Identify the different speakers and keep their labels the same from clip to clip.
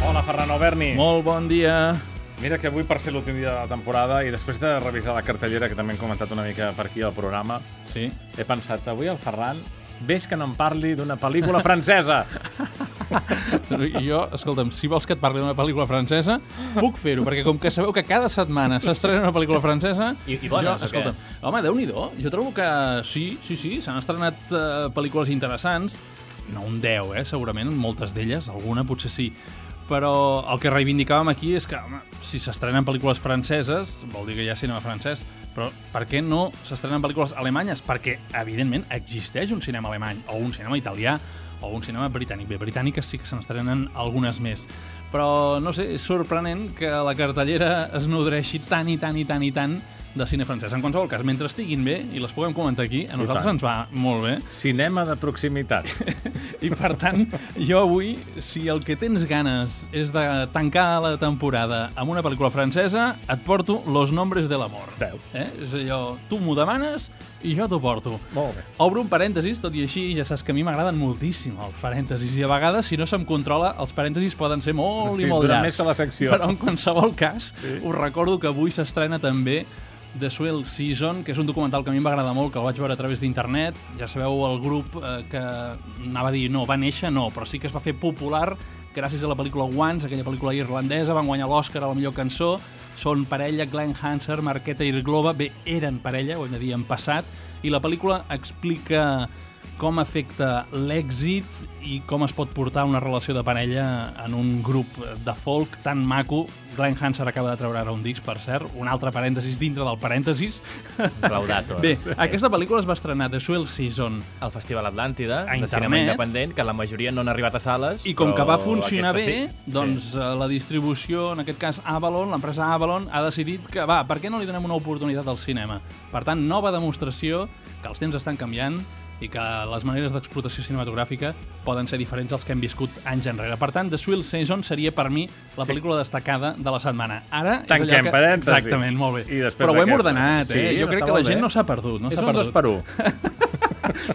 Speaker 1: tal, Berni?
Speaker 2: Molt bon dia.
Speaker 1: Mira que avui, per ser l'últim dia de la temporada, i després de revisar la cartellera, que també hem comentat una mica per aquí al programa,
Speaker 2: Sí.
Speaker 1: he pensat, avui el Ferran, ves que no em parli d'una pel·lícula francesa.
Speaker 2: Jo, escolta'm, si vols que et parli d'una pel·lícula francesa, puc fer-ho, perquè com que sabeu que cada setmana s'estrena una pel·lícula francesa...
Speaker 3: I- i bones,
Speaker 2: jo,
Speaker 3: o què?
Speaker 2: escolta'm, Home, déu nhi jo trobo que sí, sí, sí, s'han estrenat eh, pel·lícules interessants, no un 10, eh, segurament, moltes d'elles, alguna potser sí, però el que reivindicàvem aquí és que, home, si s'estrenen pel·lícules franceses, vol dir que hi ha cinema francès, però per què no s'estrenen pel·lícules alemanyes? Perquè, evidentment, existeix un cinema alemany, o un cinema italià, o un cinema britànic. Bé, britàniques sí que se n'estrenen algunes més. Però, no sé, és sorprenent que la cartellera es nodreixi tant i tant i tant i tant de cine francès. En qualsevol cas, mentre estiguin bé i les puguem comentar aquí, a nosaltres
Speaker 1: tant.
Speaker 2: ens va molt bé.
Speaker 1: Cinema de proximitat.
Speaker 2: I per tant, jo avui, si el que tens ganes és de tancar la temporada amb una pel·lícula francesa, et porto Los nombres de l'amor.
Speaker 1: Veu.
Speaker 2: Eh? És allò, tu m'ho demanes i jo t'ho porto.
Speaker 1: Molt bé.
Speaker 2: Obro un parèntesis, tot i així, ja saps que a mi m'agraden moltíssim els parèntesis i a vegades, si no se'm controla, els parèntesis poden ser molt
Speaker 1: Sí,
Speaker 2: i molt
Speaker 1: dura
Speaker 2: llargs.
Speaker 1: més que la secció.
Speaker 2: Però en qualsevol cas, sí. us recordo que avui s'estrena també The Swell Season, que és un documental que a mi em va agradar molt, que el vaig veure a través d'internet. Ja sabeu, el grup eh, que anava a dir no, va néixer, no, però sí que es va fer popular gràcies a la pel·lícula Once, aquella pel·lícula irlandesa, van guanyar l'Oscar a la millor cançó, són parella Glenn Hanser, Marqueta i Glova, bé, eren parella, ho hem de dir, en passat, i la pel·lícula explica com afecta l'èxit i com es pot portar una relació de parella en un grup de folk tan maco. Glenn Hanser acaba de treure ara un disc, per cert, un altre parèntesis dintre del parèntesis.
Speaker 3: Raudato.
Speaker 2: Bé, aquesta pel·lícula es va estrenar The Swell Season
Speaker 3: al Festival Atlàntida,
Speaker 2: A
Speaker 3: de cinema
Speaker 2: internet.
Speaker 3: independent, que la majoria no han arribat a sales.
Speaker 2: i com que va
Speaker 3: però
Speaker 2: funcionar bé,
Speaker 3: aquesta
Speaker 2: sí.
Speaker 3: sí.
Speaker 2: doncs sí. la distribució, en aquest cas Avalon, l'empresa Avalon, ha decidit que va, per què no li donem una oportunitat al cinema? Per tant, nova demostració que els temps estan canviant i que les maneres d'explotació cinematogràfica poden ser diferents als que hem viscut anys enrere. Per tant, The Swill Season seria per mi la
Speaker 1: Sí.
Speaker 2: pel·lícula destacada de la setmana. Ara és allò
Speaker 1: Tanquem
Speaker 2: que...
Speaker 1: parèntesis.
Speaker 2: Exactament, molt bé.
Speaker 1: I després
Speaker 2: Però ho hem
Speaker 1: d'aquesta.
Speaker 2: ordenat, eh?
Speaker 1: Sí,
Speaker 2: jo
Speaker 1: està
Speaker 2: crec que la
Speaker 1: molt
Speaker 2: gent
Speaker 1: bé.
Speaker 2: no s'ha perdut. No
Speaker 1: és
Speaker 2: s'ha
Speaker 1: un
Speaker 2: perdut.
Speaker 1: dos per un.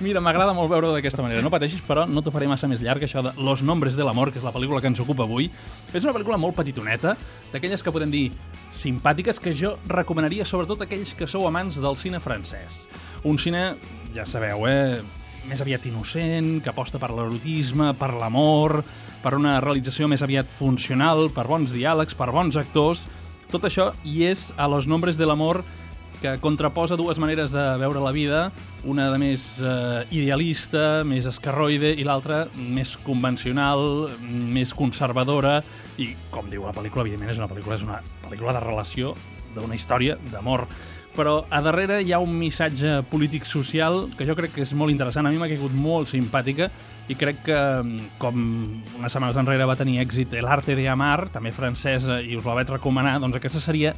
Speaker 2: Mira, m'agrada molt veure-ho d'aquesta manera. No pateixis, però no t'ho faré massa més llarg, això de Los nombres de l'amor, que és la pel·lícula que ens ocupa avui. És una pel·lícula molt petitoneta, d'aquelles que podem dir simpàtiques, que jo recomanaria sobretot a aquells que sou amants del cine francès. Un cine, ja sabeu, eh? més aviat innocent, que aposta per l'erotisme, per l'amor, per una realització més aviat funcional, per bons diàlegs, per bons actors... Tot això hi és a Los nombres de l'amor, que contraposa dues maneres de veure la vida, una de més eh, idealista, més escarroide, i l'altra més convencional, més conservadora, i com diu la pel·lícula, evidentment és una pel·lícula, és una pel·lícula de relació, d'una història d'amor. Però a darrere hi ha un missatge polític-social que jo crec que és molt interessant, a mi m'ha caigut molt simpàtica i crec que, mm, com unes setmanes enrere va tenir èxit El arte de amar, també francesa, i us la vaig recomanar, doncs aquesta seria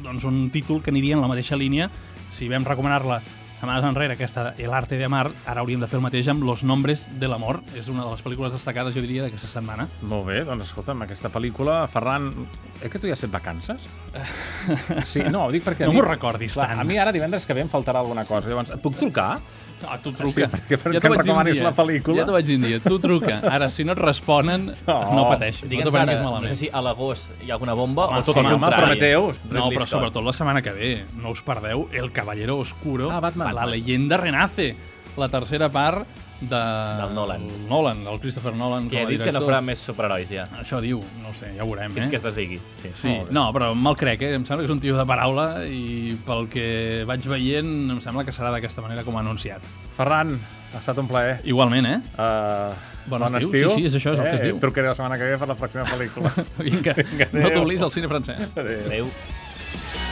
Speaker 2: doncs, un títol que aniria en la mateixa línia. Si vam recomanar-la setmanes enrere, aquesta El arte de amar, ara hauríem de fer el mateix amb Los nombres de l'amor. És una de les pel·lícules destacades, jo diria, d'aquesta setmana.
Speaker 1: Molt bé, doncs escolta'm, aquesta pel·lícula, Ferran... Eh que tu ja has fet vacances? Sí, no, ho dic perquè... a
Speaker 2: No
Speaker 1: mi-
Speaker 2: m'ho recordis
Speaker 1: Clar,
Speaker 2: tant.
Speaker 1: A mi ara divendres que ve em faltarà alguna cosa. Llavors, et puc trucar?
Speaker 2: Ah, tu
Speaker 1: truca. perquè- perquè em
Speaker 2: dir un
Speaker 1: recomanis
Speaker 2: dia.
Speaker 1: la pel·lícula.
Speaker 2: Ja t'ho vaig dir un dia. Tu truca. Ara, si no et responen, no, no pateixis. No t'ho
Speaker 3: Digue'ns
Speaker 2: prenguis
Speaker 3: ara, no
Speaker 2: malament.
Speaker 3: sé si a l'agost hi ha alguna bomba
Speaker 1: Home,
Speaker 3: o tot
Speaker 1: sí,
Speaker 3: el
Speaker 1: home,
Speaker 3: contrari.
Speaker 1: Prometheus,
Speaker 2: No,
Speaker 3: Ridley
Speaker 2: però
Speaker 3: Scott.
Speaker 2: sobretot la setmana que ve. No us perdeu El Caballero Oscuro.
Speaker 1: Ah, Batman.
Speaker 2: La leyenda renace. La tercera part de...
Speaker 3: Del Nolan.
Speaker 2: Nolan, el Christopher Nolan.
Speaker 3: Que he
Speaker 2: com a
Speaker 3: dit que no
Speaker 2: director.
Speaker 3: farà més superherois, ja.
Speaker 2: Això diu, no ho sé, ja ho veurem,
Speaker 3: Fins
Speaker 2: eh?
Speaker 3: que es desdigui. Sí.
Speaker 2: Sí, no, però me'l crec, eh? Em sembla que és un tio de paraula i pel que vaig veient em sembla que serà d'aquesta manera com ha anunciat.
Speaker 1: Ferran, ha estat un plaer.
Speaker 2: Igualment, eh?
Speaker 1: Uh,
Speaker 2: Bon estiu. Eh, Sí, sí, és això, és el que es diu.
Speaker 1: Et trucaré la setmana que ve per la pròxima pel·lícula.
Speaker 2: Vinga,
Speaker 1: Vinga,
Speaker 2: no
Speaker 1: adéu.
Speaker 2: t'oblidis del cine francès.
Speaker 1: Adéu.
Speaker 3: Adéu.